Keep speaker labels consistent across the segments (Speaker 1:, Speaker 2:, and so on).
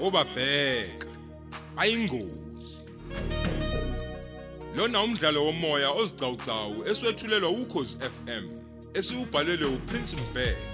Speaker 1: obabheka ayingozi lona umdlalo womoya ozicawucawu eswetshulelwa ukhozi FM esiubhalelwe uPrince Mbeki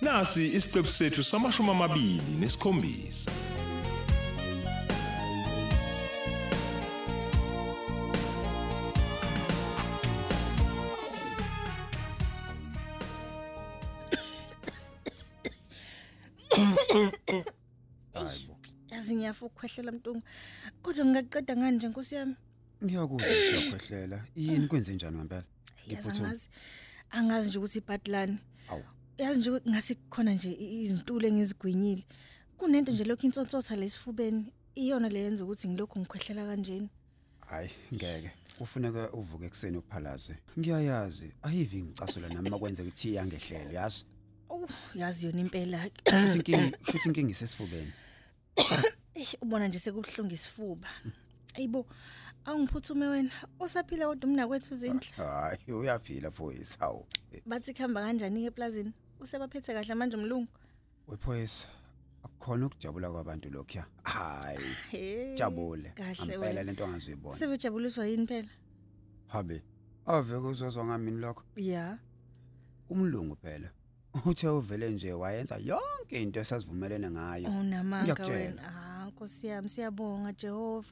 Speaker 2: Nasi isiqephu sethu samashumi amabili nesikhombisa.
Speaker 3: Hayibo.
Speaker 4: yazi ngiyafa ukukhwehlela mntungu kodwa ngingaqeda ngani nje nkosi yami
Speaker 3: Ngiyakuzwa uyakhwehlela. Yini kwenze njani ngempela?
Speaker 4: yazi
Speaker 3: Ngiphuthuma.
Speaker 4: angazi angazi nje ukuthi ibhatlani
Speaker 3: Awu.
Speaker 4: yazi nje ukuthi ngase kukhona nje i- izintulo engizigwinyile kunento nje lokhu insontsotha lesifubeni iyona le yenza ukuthi ngilokhu ngikhwehlela kanjena
Speaker 3: Hayi ngeke. Kufuneka uvuke ekseni uphalaze. Ngiyayazi ayivi ngicasula nami makwenzeka ukuthi iyangehlelo yazi.
Speaker 4: Oh yazi yona impela ke.
Speaker 3: Futhi inkingi futhi inkingi sesifubeni.
Speaker 4: Eish, ubona nje sekubuhlungu isifuba ayibo awungiphuthume wena osaphila kodwa umna kwethu izindla
Speaker 3: Hayi uyaphila phoyisa. Hawu.
Speaker 4: bathi khamba kanjani ke eplazini usebaphethe kahle manje umlungu
Speaker 3: Wephoyisa. Akukhona ukujabula kwabantu lokho. Hayi.
Speaker 4: Hey,
Speaker 3: Jabule.
Speaker 4: kahle
Speaker 3: Ampela
Speaker 4: wena
Speaker 3: lento angazoyibona.
Speaker 4: sebejabuliswa yini phela
Speaker 3: Habe. Ave kuzozwa ngamini lokho.
Speaker 4: ya
Speaker 3: Umlungu phela. Uthe uvele nje wayenza yonke into esivumelene ngayo.
Speaker 4: unamanga
Speaker 3: Ngiyakutshela.
Speaker 4: oh, wena ah nkosi yami siyabonga Jehova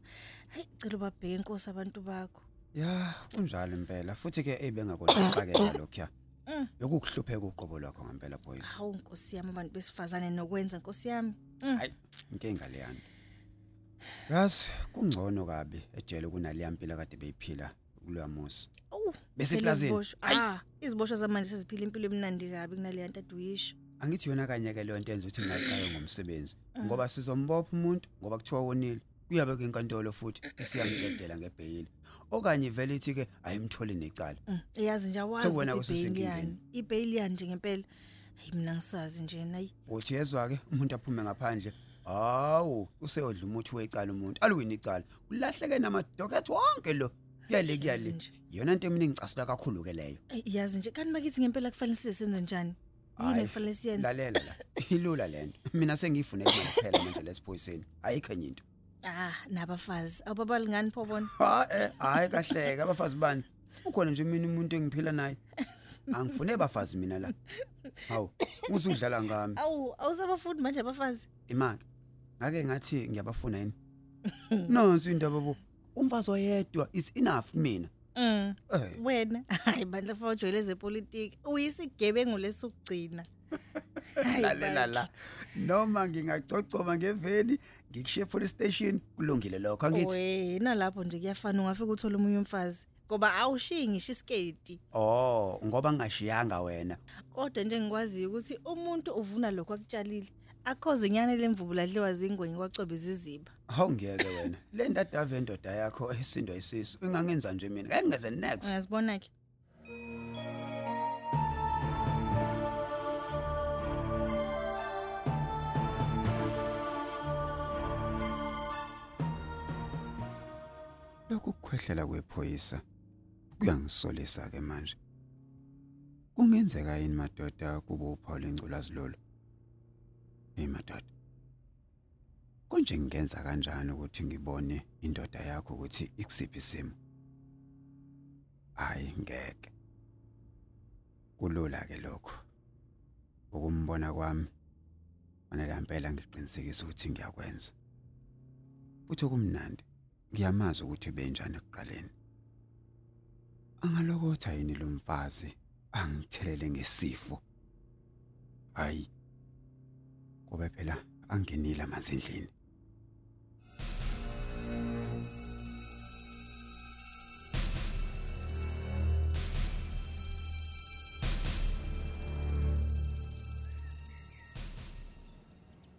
Speaker 4: hey cela ubabheke inkosi abantu bakho
Speaker 3: Ya, kunjalo impela. Futhi ke ebengakonixakela lokho.
Speaker 4: Mm.
Speaker 3: Yokuhlupheka uqobo lwakho ngempela boys.
Speaker 4: hawu nkosi yami abantu besifazane nokwenza nkosi yami
Speaker 3: Hayi, inkinga leyani. Yas, kungcono kabi ejele kunale yampila kade beyiphila kuloyamusi.
Speaker 4: awu
Speaker 3: Bese
Speaker 4: phela
Speaker 3: eplazini.
Speaker 4: iziboshwa. ah iziboshwa zamanje seziphila impilo emnandi kabi kunale yantu aduyisho
Speaker 3: Angithi yona kanye ke leyo nto enza ukuthi ngaqale ngomsebenzi
Speaker 4: Mm.
Speaker 3: ngoba sizombopha umuntu ngoba kuthiwa wonile. Kuyabe kwenkantolo futhi siyamdedela ngebhayili. Okanye vele ithi ke ayimtholi necala.
Speaker 4: iyazi Mm, nje awazi
Speaker 3: So, wena
Speaker 4: ukuthi
Speaker 3: ususenkingeni.
Speaker 4: ibhayili yani ibhayili yani nje ngempela hayi mina ngisazi nje nayi
Speaker 3: Uthi yezwa ke umuntu aphume ngaphandle. Hawu, useyodla umuthi wecala umuntu. Aluwini icala. Ulahleke namadocket wonke lo. Kuyale
Speaker 4: Yazi
Speaker 3: kuyale.
Speaker 4: nje.
Speaker 3: Yona into emini ngicasula kakhulu ke leyo.
Speaker 4: iyazi nje kanti bakithi ngempela kufanele size senze njani yini
Speaker 3: Hhayi,
Speaker 4: ekufanele siyenze
Speaker 3: Lalela la. Ilula lento. Mina sengiyifunele imali kuphela manje lesiphoyiseni. Ayikho enye into.
Speaker 4: ah nabafazi awubabalingani pho bona
Speaker 3: Ha eh, hayi kahleke abafazi bani. Ukhona nje mina umuntu engiphila naye. Angifune bafazi mina la. Hawu, usudlala ngami.
Speaker 4: awu awusabafundi manje abafazi
Speaker 3: imake ngake ngathi ngiyabafuna yini nonsi indaba bo umfazi oyedwa is enough mina
Speaker 4: mm
Speaker 3: eh
Speaker 4: wena hayi bandla fa ujoyele zepolitiki uyisigebengu lesokugcina Hayi
Speaker 3: lalela
Speaker 4: bandla.
Speaker 3: la noma ngingacocoma ngeveni ngikushiye police station kulungile lokho angithi
Speaker 4: wena lapho nje kuyafana ungafika uthole omunye umfazi ngoba awushiyi ngisho isikedi
Speaker 3: oh ngoba ngingashiyanga wena
Speaker 4: kodwa nje ngikwaziyo ukuthi umuntu uvuna lokho akutshalile akhoze inyane lemvubu ladliwa zingwenye kwacobe iziziba
Speaker 3: awungeke wena le ndadave endoda yakho esindwa isisu ingangenza nje mina ngeke ngeze next
Speaker 4: ungazibona ke
Speaker 3: lokhu kukhwehlela kwephoyisa kuyangisolisa ke manje kungenzeka yini madoda kube uphawu lengculazi lolo hey madoda konje ngingenza kanjani ukuthi ngibone indoda yakho ukuthi ikusiphi isimo hayi ngeke kulula ke lokho ukumbona kwami fanele impela ngiqinisekise ukuthi ngiyakwenza futhi kumnandi ngiyamazi ukuthi benjani ekuqaleni angalokotha yini lo mfazi angithelele ngesifo hayi kube phela angenile amanzi endlini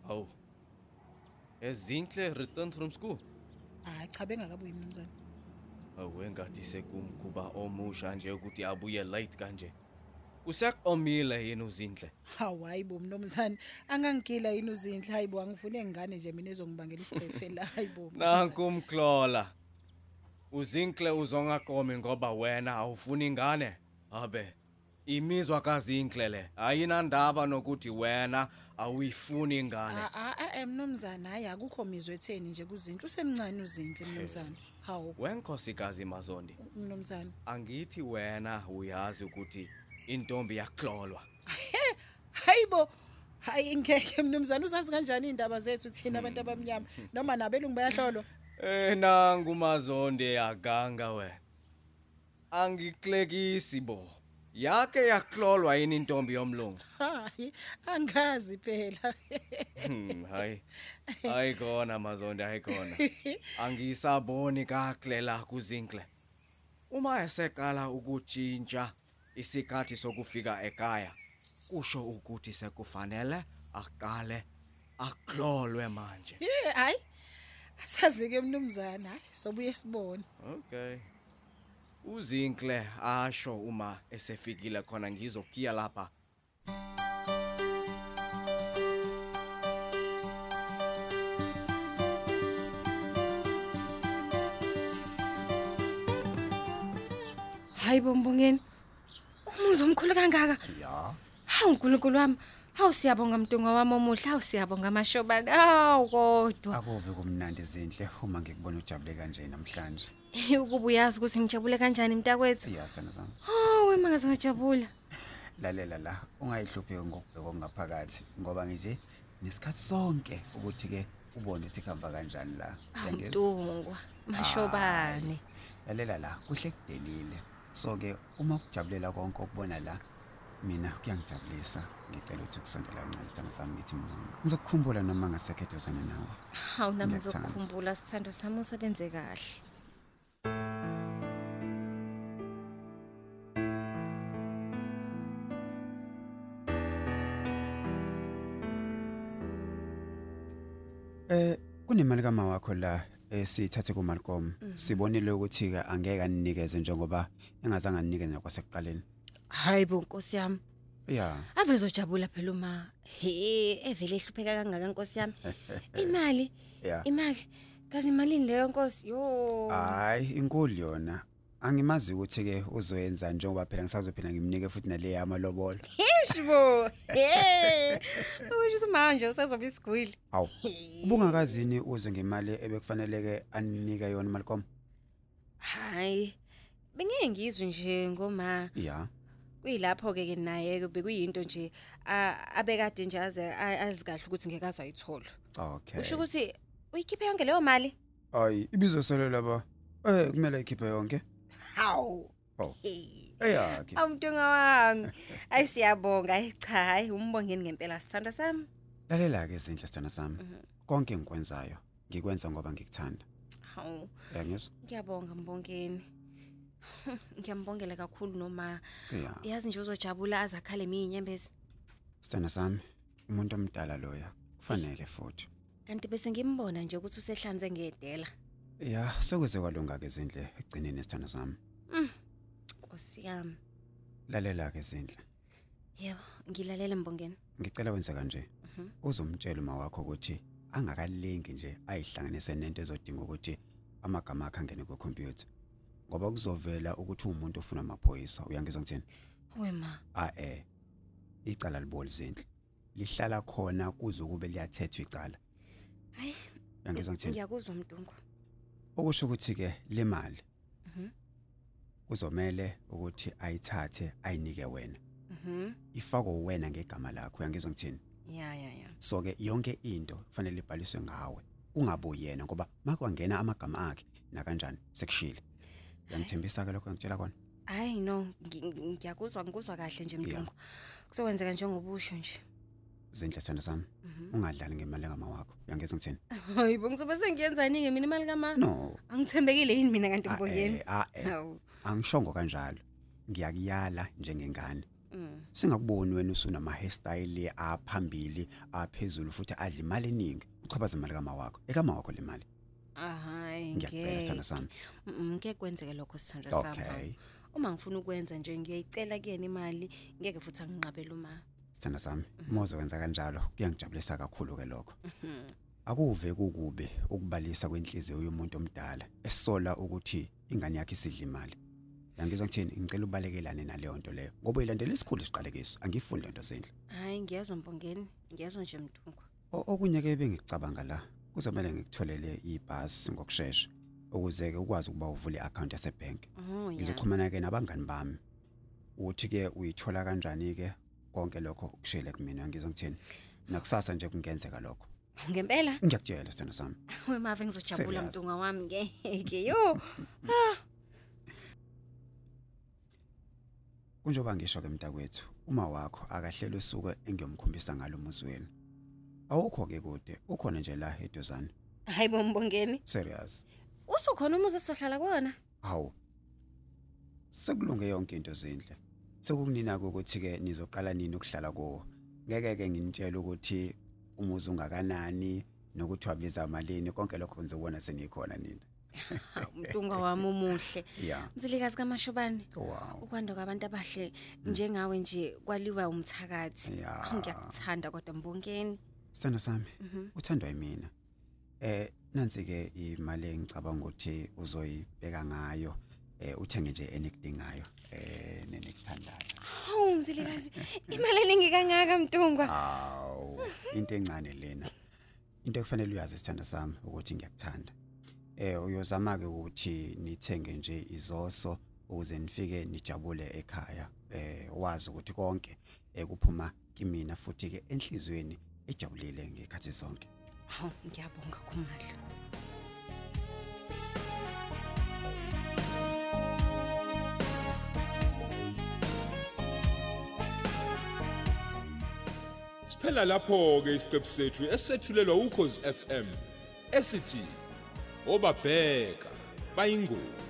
Speaker 5: Aw. E Ezinhle return from school.
Speaker 6: hayi cha bengakabuyi mnumzane
Speaker 5: Awengathi sekumkhuba omusha nje ukuthi abuye late kanje. Usak omile yena uzinhle.
Speaker 6: hawu hayibo mnumzane angangigila yini uzinhle hayibo angifune ngane nje mina ezongibangela isicefe la hayibo
Speaker 5: Nanku umklola. Uzinhle uzongaqomi ngoba wena awufuni ingane. Abe imizwa kazinhle le ayinandaba nokuthi wena awuyifuni ingane
Speaker 6: a a a mnumzane hayi akukho mizwe etheni nje kuzinhle usemncane uzinhle mnumzane hawu
Speaker 5: wenkosikazi mazondi
Speaker 6: mnumzane
Speaker 5: angithi wena uyazi ukuthi intombi yaklolwa
Speaker 6: hayibo hayi ngeke mnumzane uzazi kanjani indaba zethu thina abantu abamnyama noma nabelungu bayahlolwa
Speaker 5: Eh nangu mazonde aganga wena. Angiklekisi bo. Yake yaklolwa yini intombi yomlungu?
Speaker 6: hayi angazi phela
Speaker 5: Hmm, Hayi. Hayi kona mazonde hayi kona. Angisaboni kakle la kuzinhle. Uma eseqala ukutshintsha isikhathi sokufika ekhaya, kusho ukuthi sekufanele aqale aklolwe manje.
Speaker 6: Eh, hayi asazi ke mnumzane hayi sobuye sibone
Speaker 5: Okay. Uzinhle asho uma esefikile khona ngizokhiya lapha.
Speaker 7: hayi bombongeni umuzi omkhulu kangaka
Speaker 3: ya
Speaker 7: hawu nkulunkulu wami hawu siyabonga mdunga wami omuhle hawu siyabonga mashobane hawu kodwa
Speaker 3: akuve kumnandi zinhle uma ngikubona ujabule kanje namhlanje
Speaker 7: ukuba uyazi ukuthi ngijabule kanjani mntakwethu
Speaker 3: siyasithanda sami
Speaker 7: hawu emangaze ngajabula
Speaker 3: lalela la ungayihlupheki ngokubheka okungaphakathi ngoba nje nesikhathi sonke ukuthi-ke ubone ukuthi kuhamba kanjani la
Speaker 7: hawu
Speaker 3: Uyangizwa?
Speaker 7: mdungwa mashobane
Speaker 3: Ah, lalela la kuhle kudelile so-ke uma kujabulela konke okubona la mina kuyangijabulisa ngicela ukuthi ukusondela kancane sithanda sami ngithi mina ngizokukhumbula noma ngasekhedozane nawe
Speaker 7: hawu nami
Speaker 3: Ngiyakuthanda.
Speaker 7: ngizokukhumbula sithandwa sami usebenze kahle
Speaker 3: Eh kunemali kama wakho la esithathe kuMalcolm
Speaker 7: Mhm.
Speaker 3: sibonile ukuthi ke angeke anikeze njengoba engazange anike nokwasekuqaleni
Speaker 7: hayi bo nkosi yami
Speaker 3: ya
Speaker 7: avezojabula phela uma he evele ehlupheka kangaka nkosi yami imali
Speaker 3: ya
Speaker 7: imake kazi imalini leyo nkosi yo
Speaker 3: hayi inkulu yona angimazi ukuthi ke uzoyenza njengoba phela ngisazophinda ngimnike futhi nale yamalobolo
Speaker 7: Ishibo. Hey. Usho manje usazoba isigwili.
Speaker 3: awu ubungakazini uze ngemali ebekufaneleke aninike yona uMalcolm
Speaker 7: Hayi. Bengeke ngizwe nje ngoma
Speaker 3: ya
Speaker 7: kuyilapho ke ke naye ke bekuyinto nje a- abekade nje aze a- azi kahle ukuthi ngeke azayithola.
Speaker 3: okay
Speaker 7: Usho ukuthi uyikhiphe yonke leyo mali?
Speaker 3: ayi ibizosele laba eh kumele ikhiphe yonke
Speaker 7: Hawu.
Speaker 3: Oh.
Speaker 7: Hey.
Speaker 3: eyakhe
Speaker 7: Awumntunga wami. Ayi siyabonga. Ayi cha, hayi umbongeni ngempela sithanda sami.
Speaker 3: lalela ke izinhle sithana sami
Speaker 7: Mhm.
Speaker 3: konke engikwenzayo ngikwenza ngoba ngikuthanda
Speaker 7: Hawu.
Speaker 3: Yangizwa?
Speaker 7: Ngiyabonga mbongeni. Ngiyambongela kakhulu noma
Speaker 3: Ya.
Speaker 7: yazi nje uzojabula azakhale miyinyembezi
Speaker 3: Sithanda sami, umuntu omdala loya kufanele futhi.
Speaker 7: kanti bese ngimbona nje ukuthi usehlanze ngedela
Speaker 3: Ya, sekuze kwalunga ke izindle egcineni sithanda sami.
Speaker 7: nkosi yami
Speaker 3: Lalela ke izindle.
Speaker 7: yebo ngilalela mbongeni
Speaker 3: Ngicela wenze kanje.
Speaker 7: Mhm.
Speaker 3: Uzomtshela uma wakho ukuthi angakalingi nje ayihlanganise nento ezodinga ukuthi amagama akhe angene kukhompyutha. Ngoba kuzovela ukuthi umuntu ufuna amaphoyisa, uyangizwa ngithini?
Speaker 7: wema
Speaker 3: Ah eh. Icala liboli izindle. Lihlala khona kuze kube liyathethwa icala.
Speaker 7: hayi
Speaker 3: Uyangizwa ngithini?
Speaker 7: ngiyakuzwa umdungu
Speaker 3: Okusho ukuthi ke le mali
Speaker 7: Mhm.
Speaker 3: kuzomele ukuthi ayithathe ayinike wena
Speaker 7: mhm
Speaker 3: ifako wena ngegama lakho uyangizwa ngithini
Speaker 7: ya ya ya
Speaker 3: so ke yonke into kufanele ibhaliswe ngawe ungabuyi yena ngoba makwangena amagama akhe nakanjani sekushile uyangithembisa ke lokho engitshela kona
Speaker 7: hayi no ngi- ngi- ngiyakuzwa ngikuzwa kahle nje mdungu kuzokwenzeka njengoba usho nje
Speaker 3: zinhle sithando sami ungadlali ngemali kama wakho uyangizwa ngithini
Speaker 7: Mhm. hayi bo ngizobe sengiyenzani-ke mina imali kama
Speaker 3: no
Speaker 7: angithembekile yini mina kanti
Speaker 3: ah,
Speaker 7: mbongeni
Speaker 3: eh, ah, eh,
Speaker 7: hawu
Speaker 3: angishongo kanjalo ngiyakuyala njengengane
Speaker 7: Mm.
Speaker 3: singakuboni wena usunama-hairstyle aphambili aphezulu futhi adla imali eningi uchabaza imali kama wakho ekama wakho le mali
Speaker 7: Ah, hayi
Speaker 3: ngiyacela sithando
Speaker 7: ngeke
Speaker 3: sami
Speaker 7: Mm, ngeke kwenzeke lokho sithanda sami hawu.
Speaker 3: okay
Speaker 7: uma ngifuna ukwenza nje ngiyayicela kuyena imali ngeke futhi anginqabele uma
Speaker 3: sithanda sami
Speaker 7: Mm-hmm.
Speaker 3: mozo wenza kanjalo kuyangijabulisa kakhulu ke lokho akuve kukubi ukubalisa kwenhliziyo yomuntu omdala esola ukuthi ingane yakhe isidla imali Yangizwa kuthini ngicela ubalekelane naleyo nto leyo ngoba uyilandela isikhulu siqalekiso angifuni lento zindlu.
Speaker 7: Hayi ngiyazwa Mpongeni, ngiyazwa nje Mtungu.
Speaker 3: O- Okunye ke bengicabanga la kuzomela ngikutholele ibhasi ngokusheshsha ukuze ke ukwazi ukuba uvule i-account yasebhenki.
Speaker 7: Oh yeah.
Speaker 3: ngizoxhumana ke nabangani bami uthi ke uyithola kanjani ke konke lokho ukushele kumina ngizongithini nakusasa nje kungenzeka lokho
Speaker 7: Ngempela
Speaker 3: ngiyakutshela sithando sami
Speaker 7: wemave ngizojabula
Speaker 3: Serious.
Speaker 7: Mtunga wami ngeke. Yo. Ah,
Speaker 3: kunjoba ngisho ke mntakwethu uma wakho akahlele usuku engiyomkhombisa ngalo umuzweli awukho ke kude ukhona nje la eduzane
Speaker 7: hayi bombongeni.
Speaker 3: serious
Speaker 7: Usukhona umuzi esizohlala kuona?
Speaker 3: hawu sekulunge yonke into zinhle sekukunina ukuthi ke nizoqala nini ukuhlala kuwo ngeke ke nginitshela ukuthi umuzi ungakanani nokuthi wabiza imalini konke lokho nizobona senikhona nina
Speaker 7: Hawu, Mtunga wami umuhle.
Speaker 3: yeah
Speaker 7: Mzilikazi kaMashobane.
Speaker 3: wow
Speaker 7: Ukwanda kwabantu abahle njengawe nje kwaliwa umthakathi.
Speaker 3: Hmm. Ya.
Speaker 7: Hawu, Ngiyakuthanda kodwa Mpongeni.
Speaker 3: sithando sami
Speaker 7: Mhm.
Speaker 3: uthandwa yimina eh nansi ke imali engicabanga ukuthi uzoyibeka ngayo eh uthenge nje enikudingayo eh nenekuthandayo
Speaker 7: Hawu mzilikazi, imali eningi kangaka Mtunga.
Speaker 3: Aw, into encane lena. Into ekufanele uyazi sithanda sami ukuthi ngiyakuthanda. Eh uyozama ke ukuthi nithenge nje izoso ukuze nifike nijabule ekhaya. Eh wazi ukuthi konke ekuphuma kimina futhi ke enhlizweni ejabulile ngekhathi zonke.
Speaker 7: Hawu ngiyabonga kumadla.
Speaker 1: Siphela lapho ke isiqephu sethu esethulelwa ukhozi FM esithi obabheka bayingoma